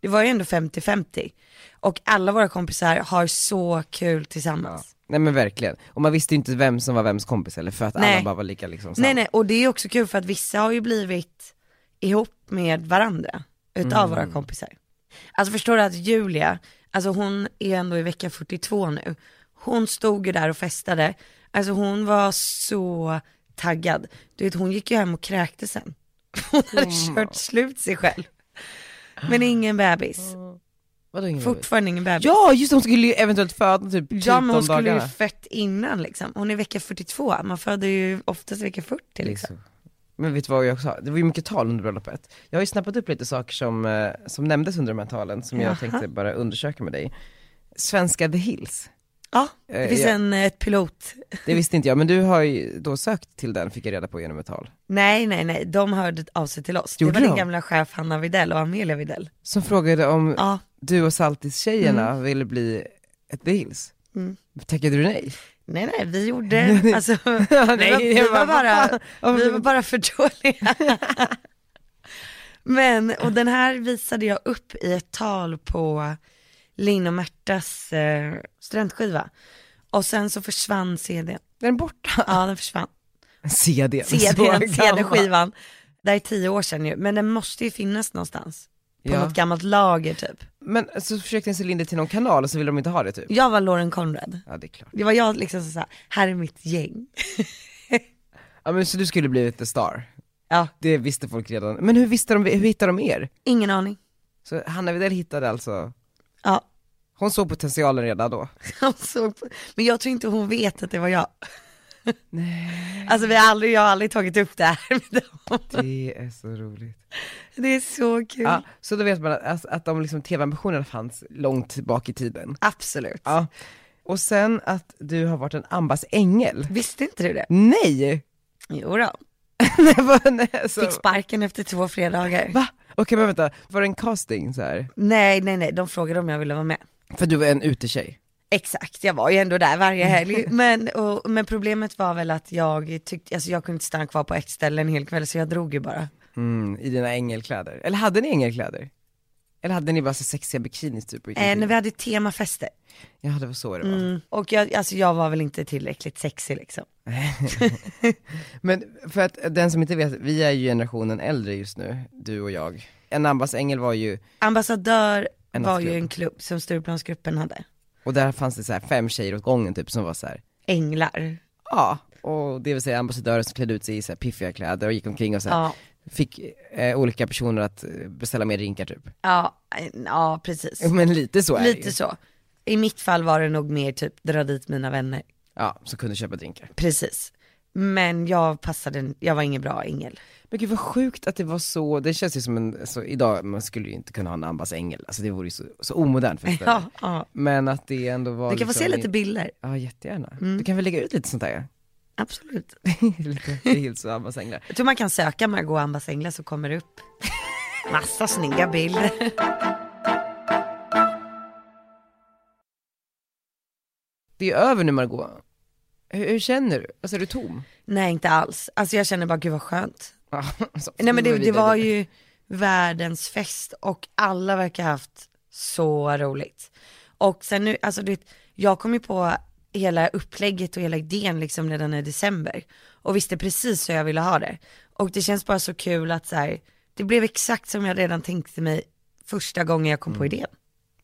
B: Det var ju ändå 50-50. Och alla våra kompisar har så kul tillsammans.
A: Nej men verkligen. Och man visste ju inte vem som var vems kompis eller för att alla
B: Nej.
A: bara var lika liksom
B: nej
A: samma.
B: nej, och det är också kul för att vissa har ju blivit ihop med varandra
A: Mm.
B: utav våra kompisar. Alltså förstår du att Julia, alltså hon är ändå i vecka 42 nu. Hon stod ju där och festade, alltså hon var så taggad. Du vet hon gick ju hem och kräkte sen. Hon hade kört slut sig själv. Men ingen bebis,
A: Vadå ingen vet?
B: fortfarande ingen bebis.
A: Ja just det, hon skulle ju eventuellt föda typ 14
B: Ja men hon skulle ju
A: dagarna.
B: fött innan liksom, hon är vecka 42, man föder ju oftast vecka 40 liksom.
A: Liksom. Men vet du vad jag också Det var ju mycket tal under bröllopet. Jag har ju snappat upp lite saker som, eh, som nämndes under de här talen, som
B: Jaha.
A: jag tänkte bara undersöka med dig. Svenska The Hills,
B: Ja, det
A: Eh,
B: finns
A: ja.
B: en eh, ett pilot.
A: det visste inte jag, men du har ju då sökt till den, fick jag reda på genom ett tal.
B: Nej, nej, nej, de hörde av sig till oss.
A: Gjorde
B: det var din
A: de?
B: gamla chef Hanna Videll och Amelia Videll.
A: Som frågade om
B: Ja,
A: du och Saltis-tjejerna ville bli ett The Hills.
B: Mm.
A: Tackade du nej?
B: Nej nej, vi gjorde, alltså, nej, vi, var, vi, var bara, vi var bara för dåliga. Men, och den här visade jag upp i ett tal på Linn och Märtas eh, studentskiva. Och sen så försvann CDn.
A: Är den borta?
B: Ja, den försvann.
A: CDn.
B: CDn,
A: Så gammal.
B: CD-skivan. Det här är tio år sedan ju, men den måste ju finnas någonstans. På
A: Ja.
B: något gammalt lager typ.
A: Men så försökte ni sälja in det till någon kanal och så ville de inte ha det typ?
B: Jag var Lauren Conrad.
A: Ja det är klart.
B: Det var jag liksom som sa, här är mitt gäng.
A: Ja men så du skulle blivit the star?
B: Ja,
A: Det visste folk redan. Men hur visste de, hur hittade de er?
B: ingen aning.
A: Så Hanna Widell hittade alltså,
B: Ja,
A: hon såg potentialen redan då?
B: hon såg på. Men jag tror inte hon vet att det var jag. Nej. Alltså vi har aldrig, jag har aldrig tagit upp det här med dem.
A: Det är så roligt.
B: Det är så kul.
A: Ja, så då vet man att, att, att de liksom tv-ambitionerna fanns långt tillbaka i tiden.
B: Absolut.
A: Ja. Och sen att du har varit en Ambas ängel.
B: Visste inte du det?
A: Nej!
B: Jo då.
A: Nej, vad- nej, så-
B: Fick sparken efter två fredagar.
A: Va? Okej men vänta, var det en casting så här?
B: Nej, nej, nej, de frågade om jag ville vara med.
A: För du var en utetjej?
B: Exakt, jag var ju ändå där varje helg. Men, och, men problemet var väl att jag tyckte, alltså jag kunde inte stanna kvar på ett ställe en hel kväll så jag drog ju bara.
A: Mm, i dina ängelkläder. Eller hade ni ängelkläder? Eller hade ni bara så sexiga bikinis typ? och
B: Eh, när
A: ingenting?
B: vi hade temafester.
A: Ja det var så det var.
B: Mm. Och jag, alltså jag var väl inte tillräckligt sexig liksom.
A: Men för att den som inte vet, vi är ju generationen äldre just nu, du och jag. En Ambas ängel var ju,
B: Ambassadör
A: En
B: var ju
A: nattklubb.
B: en klubb som Stureplansgruppen hade.
A: och där fanns det så här fem tjejer åt gången typ som var så här.
B: Änglar.
A: Ja, och det vill säga ambassadörer som klädde ut sig i så här piffiga kläder och gick omkring och så här,
B: Ja,
A: fick eh, olika personer att eh, beställa mer drinkar typ.
B: ja, eh, ja precis.
A: Men lite Mm, så är det ju.
B: Lite så. I mitt fall var det nog mer typ dra dit mina vänner.
A: Ja, som kunde köpa drinkar.
B: Precis. Men jag passade, jag var ingen bra ängel.
A: Men gud vad sjukt att det var så, det känns ju som en, så idag, man skulle ju inte kunna ha en ambas ängel, alltså det vore ju så, så omodernt för ett ställe.
B: Ja, ja.
A: Men att det ändå var liksom
B: Du kan få se lite bilder.
A: Ja jättegärna. Du kan väl lägga ut lite sånt där?
B: Absolut.
A: lite Hills och ambas änglar.
B: Jag tror man kan söka Margot Ambas änglar så kommer det upp massa snygga bilder.
A: Det är över nu Margot. Hur, hur känner du? Alltså är du tom?
B: Nej inte alls. Alltså jag känner bara gud vad skönt.
A: Ja, alltså,
B: Nej men det,
A: vidare.
B: det var ju världens fest och alla verkar ha haft så roligt. Och sen nu, alltså du vet, jag kom ju på hela upplägget och hela idén liksom redan i december. Och visste precis hur jag ville ha det. Och det känns bara så kul att så här, det blev exakt som jag redan tänkte mig första gången jag kom på idén.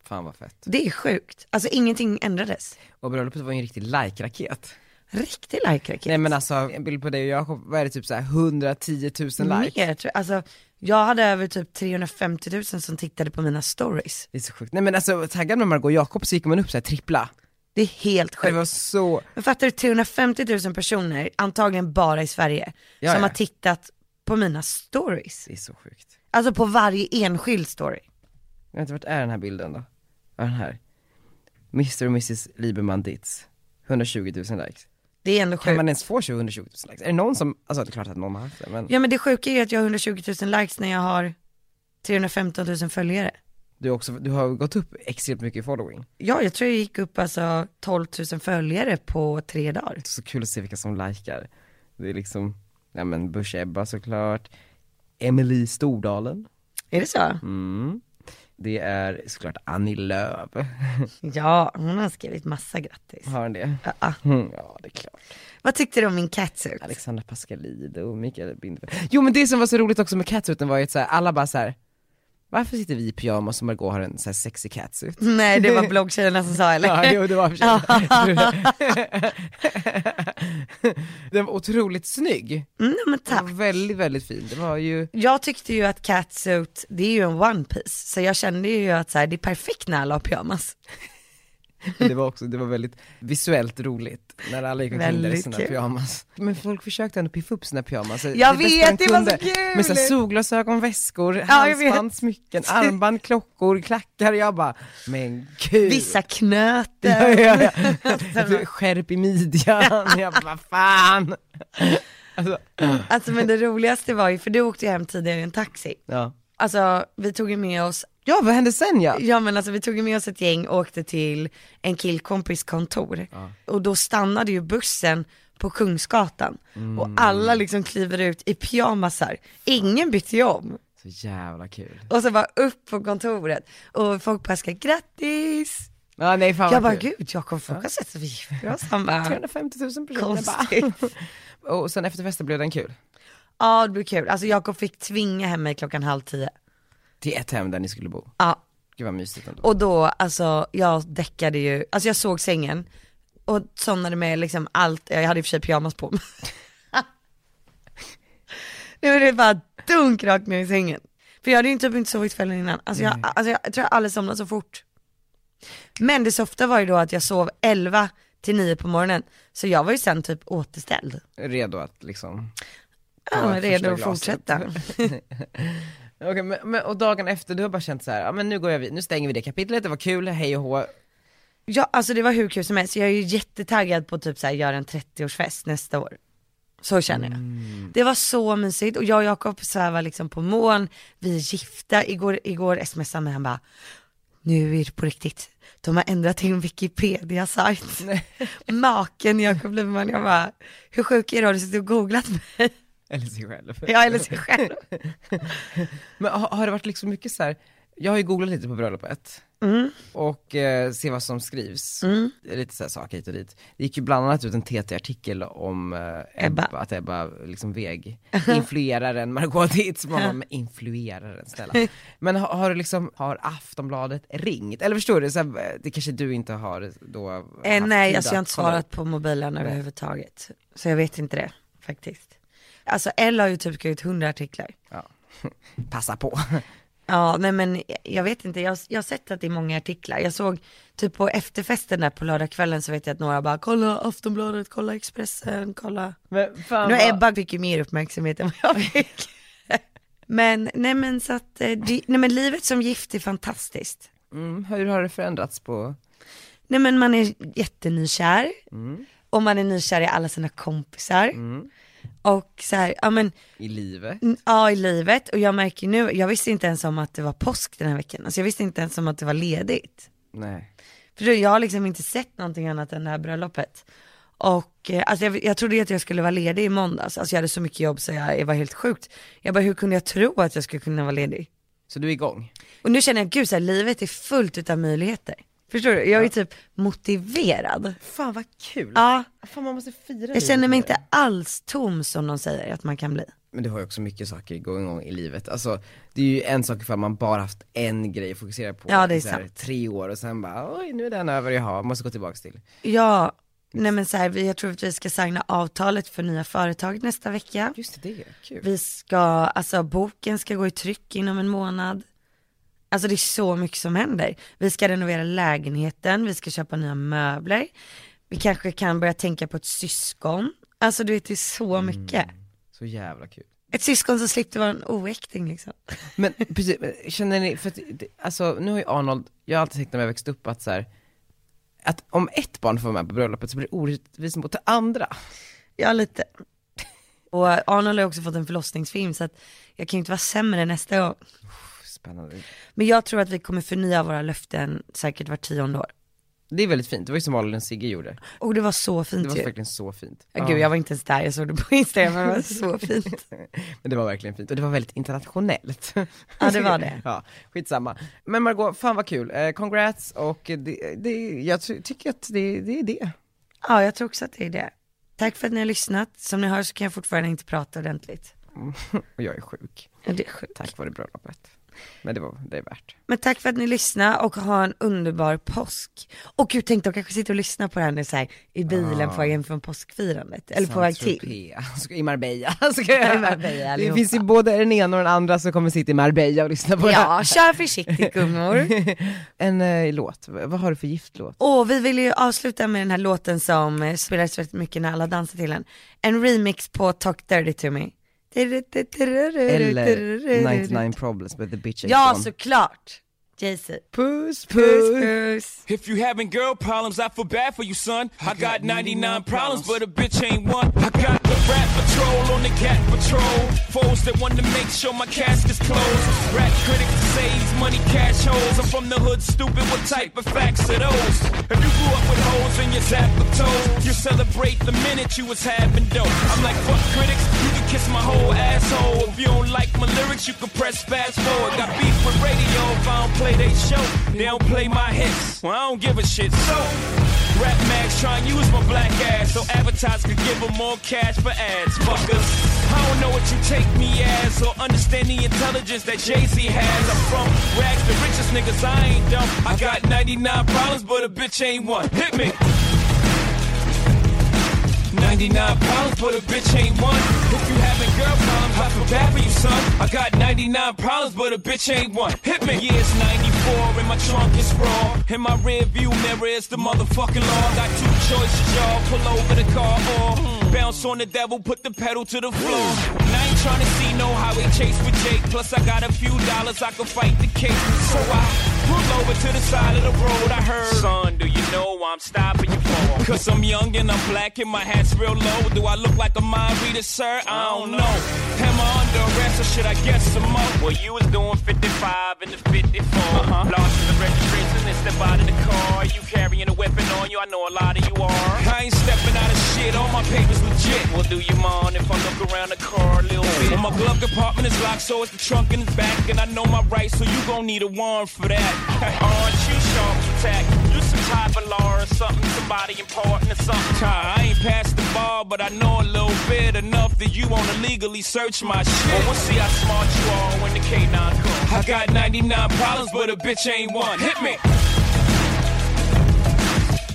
A: Fan vad fett.
B: Det är sjukt. Alltså ingenting ändrades.
A: Och bröllopet var ju en riktig like-raket.
B: Riktig like-raket.
A: Nej men alltså, en bild på dig och Jakob, vad är det typ såhär 110 000 likes?
B: Mer, tror jag. Alltså, jag hade över typ 350 000 som tittade på mina stories.
A: Det är så sjukt. Nej men alltså taggad med Margot och Jakob så gick man upp såhär trippla.
B: Det är helt
A: Det
B: sjukt.
A: var så,
B: Men fattar du, 350 000 personer, antagligen bara i Sverige,
A: Ja,
B: som
A: ja.
B: har tittat på mina stories.
A: det är så sjukt.
B: Alltså på varje enskild story.
A: Jag vet inte, vart är den här bilden då? Ja den här. Mr och Mrs Lieberman Ditz. 120 000 likes.
B: Det är ändå
A: Kan
B: sjukt.
A: man ens få 120 000 likes? Är det någon som, alltså det är klart att någon har haft det men
B: Ja men det sjuka är ju att jag har 120 000 likes när jag har 315 000 följare.
A: du, har också, du har gått upp extremt mycket i following.
B: Ja, jag tror jag gick upp alltså 12 000 följare på tre dagar.
A: Det är så kul att se vilka som likar. Det är liksom, ja men Bush Ebba såklart, Emily Stordalen.
B: Är det så?
A: Mm. Det är såklart Annie Lööf.
B: Ja, hon har skrivit massa grattis.
A: Har hon det?
B: Ja.
A: Mm, Ja, det är klart.
B: Vad tyckte du om min catsuit?
A: Alexandra Pascalidou och Mikael Bindefeld. Jo men det som var så roligt också med catsuiten var ju att så här, alla bara så här. varför sitter vi i pyjamas och Margot har en så här sexig catsuit?
B: Nej det var bloggtjejerna som sa eller?
A: Ja, jo, det var för sig. Den var otroligt snygg.
B: Mm, men
A: Den
B: tack.
A: var väldigt, väldigt fin. Det var ju,
B: Jag tyckte ju att catsuit, det är ju en one piece så jag kände ju att så här, det är perfekt när alla har pyjamas.
A: det var också, det var väldigt visuellt roligt när alla gick omkring där i
B: Väldigt
A: sina
B: kul.
A: pyjamas. Men folk försökte ändå piffa upp sina pyjamas.
B: Jag
A: bästa
B: vet,
A: de
B: det var så
A: kunde.
B: kul!
A: Med så här solglasögon, väskor,
B: jag vet.
A: halsband, smycken, armband, klockor, klackar. Jag bara, men gud.
B: Vissa
A: Ja,
B: knöten.
A: ja, ja. Skärp i midjan, jag bara, vad fan. Alltså,
B: Alltså men det roligaste var ju, för du åkte ju hem tidigare i en taxi.
A: ja.
B: Alltså vi tog ju med oss
A: Ja, vad hände sen ja?
B: Ja men alltså vi tog ju med oss ett gäng och åkte till en killkompis kontor. Och då stannade ju bussen på Kungsgatan. Och alla liksom kliver ut i pyjamasar. Ingen bytte ju om.
A: Så jävla kul.
B: Och så bara upp på kontoret. Och folk bara ska grattis.
A: Ja, nej fan
B: Jag
A: vad
B: bara
A: kul.
B: gud Jakob folk har sett att vi gifter oss. Han bara
A: 350 000 personer bara.
B: konstigt. "Ah."
A: Och sen efter festen blev den kul.
B: Ja det blir kul. Alltså Jakob fick tvinga hem mig klockan halv tio.
A: Till ett hem där ni skulle bo.
B: Ja
A: Gud vad mysigt ändå.
B: Och då, alltså jag däckade ju, alltså jag såg sängen och somnade med liksom allt, jag hade i och för sig pyjamas på mig. Nej men det var dunk rakt ner i sängen. För jag hade ju typ inte sovit kvällen innan, alltså jag, alltså jag tror jag aldrig somnat så fort. Men det softa var ju då att jag sov 11 till 9 på morgonen, så jag var ju sen typ återställd.
A: Redo att liksom.
B: Ja,
A: var
B: redo
A: första
B: att
A: glaset.
B: fortsätta.
A: Okej, men, men, och dagen efter, du har bara känt så här, ja men nu går jag vid, nu stänger vi det kapitlet, det var kul, hej och hå.
B: Ja, alltså det var hur kul som helst. Jag är ju jättetaggad på typ så här, göra en 30-årsfest nästa år. Så känner jag. Det var så mysigt och jag och Jakob svävar liksom på moln, vi är gifta. Igår, igår smsade mig han bara, nu är det på riktigt. De har ändrat till Wikipedia-sajt. Maken Jakob Lyman, jag bara, hur sjuk är du? Har du suttit och googlat mig?
A: Eller sig själv.
B: Ja, eller sig själv.
A: Men har, har det varit liksom mycket så här, jag har ju googlat lite på bröllopet.
B: Mm.
A: Och eh, se vad som skrivs. Det är Lite så här saker hit och dit. Det gick ju bland annat ut en TT-artikel om eh, Ebba,
B: Ebba.
A: att Ebba liksom veg. Influeraren Margot Dietz. Man bara, men influeraren snälla. Men har, har du liksom, har Aftonbladet ringt? Eller förstår du, så här, eh, det kanske du inte har då
B: Eh,
A: haft
B: nej,
A: tid
B: alltså jag
A: att
B: har inte
A: kolla
B: svarat på mobilen överhuvudtaget. Så jag vet inte det faktiskt. Alltså Elle har ju typ skrivit 100 artiklar.
A: upp. Passa på.
B: Ja, nej men jag vet inte, jag, jag har sett att det är många artiklar. Jag såg typ på efterfesten där på lördagskvällen så vet jag att några bara kolla Aftonbladet, kolla Expressen, kolla.
A: Men fan
B: Nu
A: vad-
B: Ebba fick ju mer uppmärksamhet än vad jag fick. men nej men så att, eh, det, nej men livet som gift är fantastiskt.
A: mm, hur har det förändrats på,
B: Nej men man är jättenykär. Och man är nykär i alla sina kompisar. Och så här, ja men,
A: i livet?
B: n- ja i livet. Och jag märker nu, jag visste inte ens om att det var påsk den här veckan. Alltså jag visste inte ens om att det var ledigt.
A: Nej.
B: För då, jag har liksom inte sett någonting annat än det här bröllopet. Och eh, alltså jag, jag trodde ju att jag skulle vara ledig i måndags. Alltså jag hade så mycket jobb så jag, det var helt sjukt. Jag bara hur kunde jag tro att jag skulle kunna vara ledig?
A: Så du är igång?
B: Och nu känner jag gud så här, livet är fullt av möjligheter. Förstår du? Jag är typ motiverad.
A: Fan vad kul!
B: Ja,
A: Fan man måste fira
B: jag känner mig inte alls tom som de säger att man kan bli.
A: Men du har ju också mycket saker igång i livet, alltså det är ju en sak ifall man bara haft en grej att fokusera på
B: Ja, det är
A: i så här
B: sant.
A: tre år och sen bara oj nu är den över, jaha, måste gå tillbaks till.
B: Ja, nej men så här, vi- jag tror att vi ska signa avtalet för nya företag nästa vecka.
A: Just det, det är kul.
B: Vi ska, alltså boken ska gå i tryck inom en månad. Alltså det är så mycket som händer. Vi ska renovera lägenheten, vi ska köpa nya möbler. Vi kanske kan börja tänka på ett syskon. Alltså du vet det är så
A: Mm.
B: mycket.
A: Så jävla kul.
B: Ett syskon som slipper vara en oäkting liksom.
A: Men precis, men känner ni, för att, det- alltså nu har ju Arnold, jag har alltid tänkt när jag växte upp att så här, att om ett barn får vara med på bröllopet så blir det orättvist mot det andra.
B: Ja lite. Och Arnold har också fått en förlossningsfilm så att jag kan ju inte vara sämre nästa gång.
A: Spännande.
B: Men jag tror att vi kommer förnya våra löften säkert var tionde år.
A: Det är väldigt fint, det var ju som Malin och Sigge gjorde.
B: Och det var så fint
A: Det var
B: ju.
A: verkligen så fint.
B: Typ. Ja. Gud jag var inte ens där, jag såg det på Instagram, men det var så fint.
A: Men det var verkligen fint och det var väldigt internationellt.
B: Ja, det var det.
A: ja, skitsamma. Men Margot, fan vad kul. Eh, congrats och det, det, jag ty- tycker att det, det är det.
B: Ja, jag tror också att det är det. Tack för att ni har lyssnat. Som ni hör så kan jag fortfarande inte prata ordentligt.
A: Och jag är sjuk,
B: Ja, Det är sjukt.
A: tack vare bröllopet. Men det var, det är värt.
B: Men tack för att ni lyssnar och ha en underbar påsk. Och gud, tänk de kanske sitter och lyssnar på det här nu så här, i bilen på vägen från påskfirandet. Eller på väg till.
A: Saint-Tropez. Ska- I Marbella. Ska jag-
B: I Marbella
A: det
B: allihopa.
A: finns ju både den ena och den andra som kommer sitta i Marbella och lyssna på det här.
B: Ja, kör försiktigt gummor.
A: En eh, låt, V- vad har du för giftlåt?
B: Och vi vill ju avsluta med den här låten som eh, spelades väldigt mycket när alla dansade till den. En remix på Talk Dirty To Me.
A: Eller 99 eh, problems with the bitch ain't
B: Ja,
A: gone.
B: såklart. JC.
A: Puss,
B: Puss,
A: puss.
B: puss.
E: If you having girl problems, I feel bad for you, son. I got 99 problems, but a bitch ain't one. I got the rat patrol on the cat patrol. Foes that want to make sure my cask is closed. Rat critics say he's money cash holes. I'm from the hood, stupid. What type of facts are those? If you grew up with holes in your zap of toes, you celebrate the minute you was having dope. I'm like, fuck critics, you can kiss my whole asshole. If you don't like my lyrics, you can press fast forward. Got beef with radio if I don't play they show. They don't play my hits. Well, I don't give a shit. So, rap mags try and use my black ass so advertisers could give them more cash for ads. Fuckers. I don't know what you take me as or understand the intelligence that Jay-Z has. I'm from rags, the richest niggas, I ain't dumb. I got 99 problems, but a bitch ain't one. Hit me. 99 problems, but a bitch ain't one. If you having girl problems, I feel bad for you, son. I got 99 problems, but a bitch ain't one. Hit me. Yeah, it's 94 and my trunk is raw. In my rear view mirror is the motherfucking law. Got two choices, y'all. Pull over the car or bounce on the devil, put the pedal to the floor. And I ain't tryna see no highway chase with Jake. Plus, I got a few dollars, I can fight the case. So I Pull over to the side of the road, I heard. Son, do you know I'm stopping you for? Cause I'm young and I'm black and my hat's real low. Do I look like a mind reader, sir? I don't know. Am I under arrest or should I get some more? Well, you was doing 55 in the 54. Uh-huh. Lost in the registration and step out of the car. You carrying a weapon on you, I know a lot of you are. I ain't stepping out of shit, all my papers legit. Well, do you mind if I look around the car a little bit? Well, my glove compartment is locked, so it's the trunk and the back. And I know my rights, so you gon' need a warrant for that. Aren't you sharp attack? You some type of law or something, somebody important or something. Child, I ain't past the bar, but I know a little bit enough that you wanna legally search my shit. Well, we'll see how smart you are when the K9 comes. I got 99 problems, but a bitch ain't one. Hit me!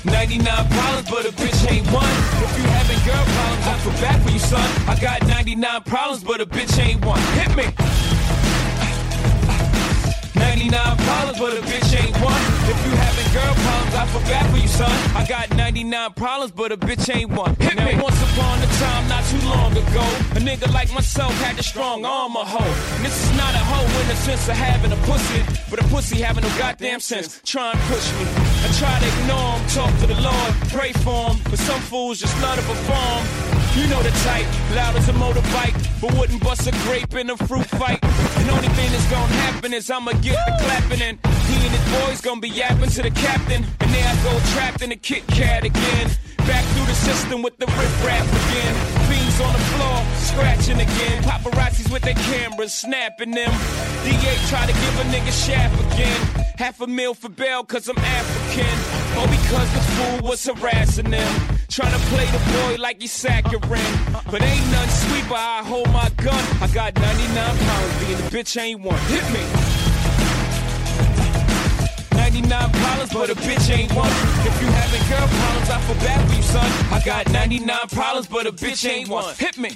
E: 99 problems, but a bitch ain't one. If you having girl problems, I feel bad for you, son. I got 99 problems, but a bitch ain't one. Hit me. 99 problems, but a bitch ain't one. If you having girl problems, I feel bad for you, son. I got 99 problems, but a bitch ain't one. Hit me. Once upon a time, not too long ago, a nigga like myself had the strong arm a hoe. And this is not a hoe in the sense of having a pussy, but a pussy having no goddamn sense. Try and push me. I try to ignore him, talk to the Lord, pray for him, but some fools just love to perform. You know the type, loud as a motorbike, but wouldn't bust a grape in a fruit fight. And only thing that's gonna happen is I'ma get the clapping and he and his boys gonna be yapping to the captain. And there I go trapped in a Kit Kat again. Back through the system with the riff rap again. Fiends on the floor, scratching again. Paparazzis with their cameras, snapping them. DA try to give a nigga shaft again. Half a meal for bail, cause I'm African. Or because the fool was harassing them. Tryna play the boy like he's saccharine. But ain't none sweet, but I hold my gun. I got 99 pounds, being the bitch ain't one. Hit me. 99 problems, but a bitch ain't one. If you having girl problems, I feel bad for you, son. I got 99 problems, but a bitch ain't one. Hit me.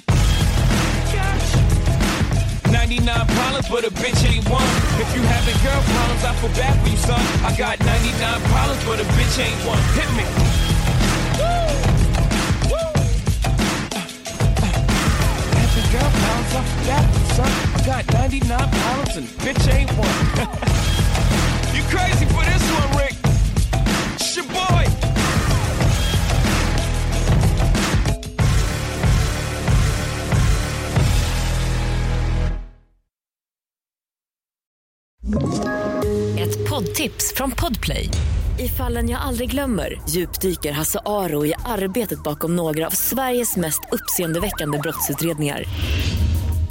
E: 99 problems, but a bitch ain't one. If you having girl problems, I feel bad for you, son. I got 99 problems, but a bitch ain't one. Hit me. Having girl problems, I feel bad for you, son. I got 99 problems and bitch ain't one. you crazy for this one, Rick? It's your boy.
F: Ett poddtips från Podplay. I fallen jag aldrig glömmer djupdyker Hasse Aro i arbetet bakom några av Sveriges mest uppseendeväckande brottsutredningar.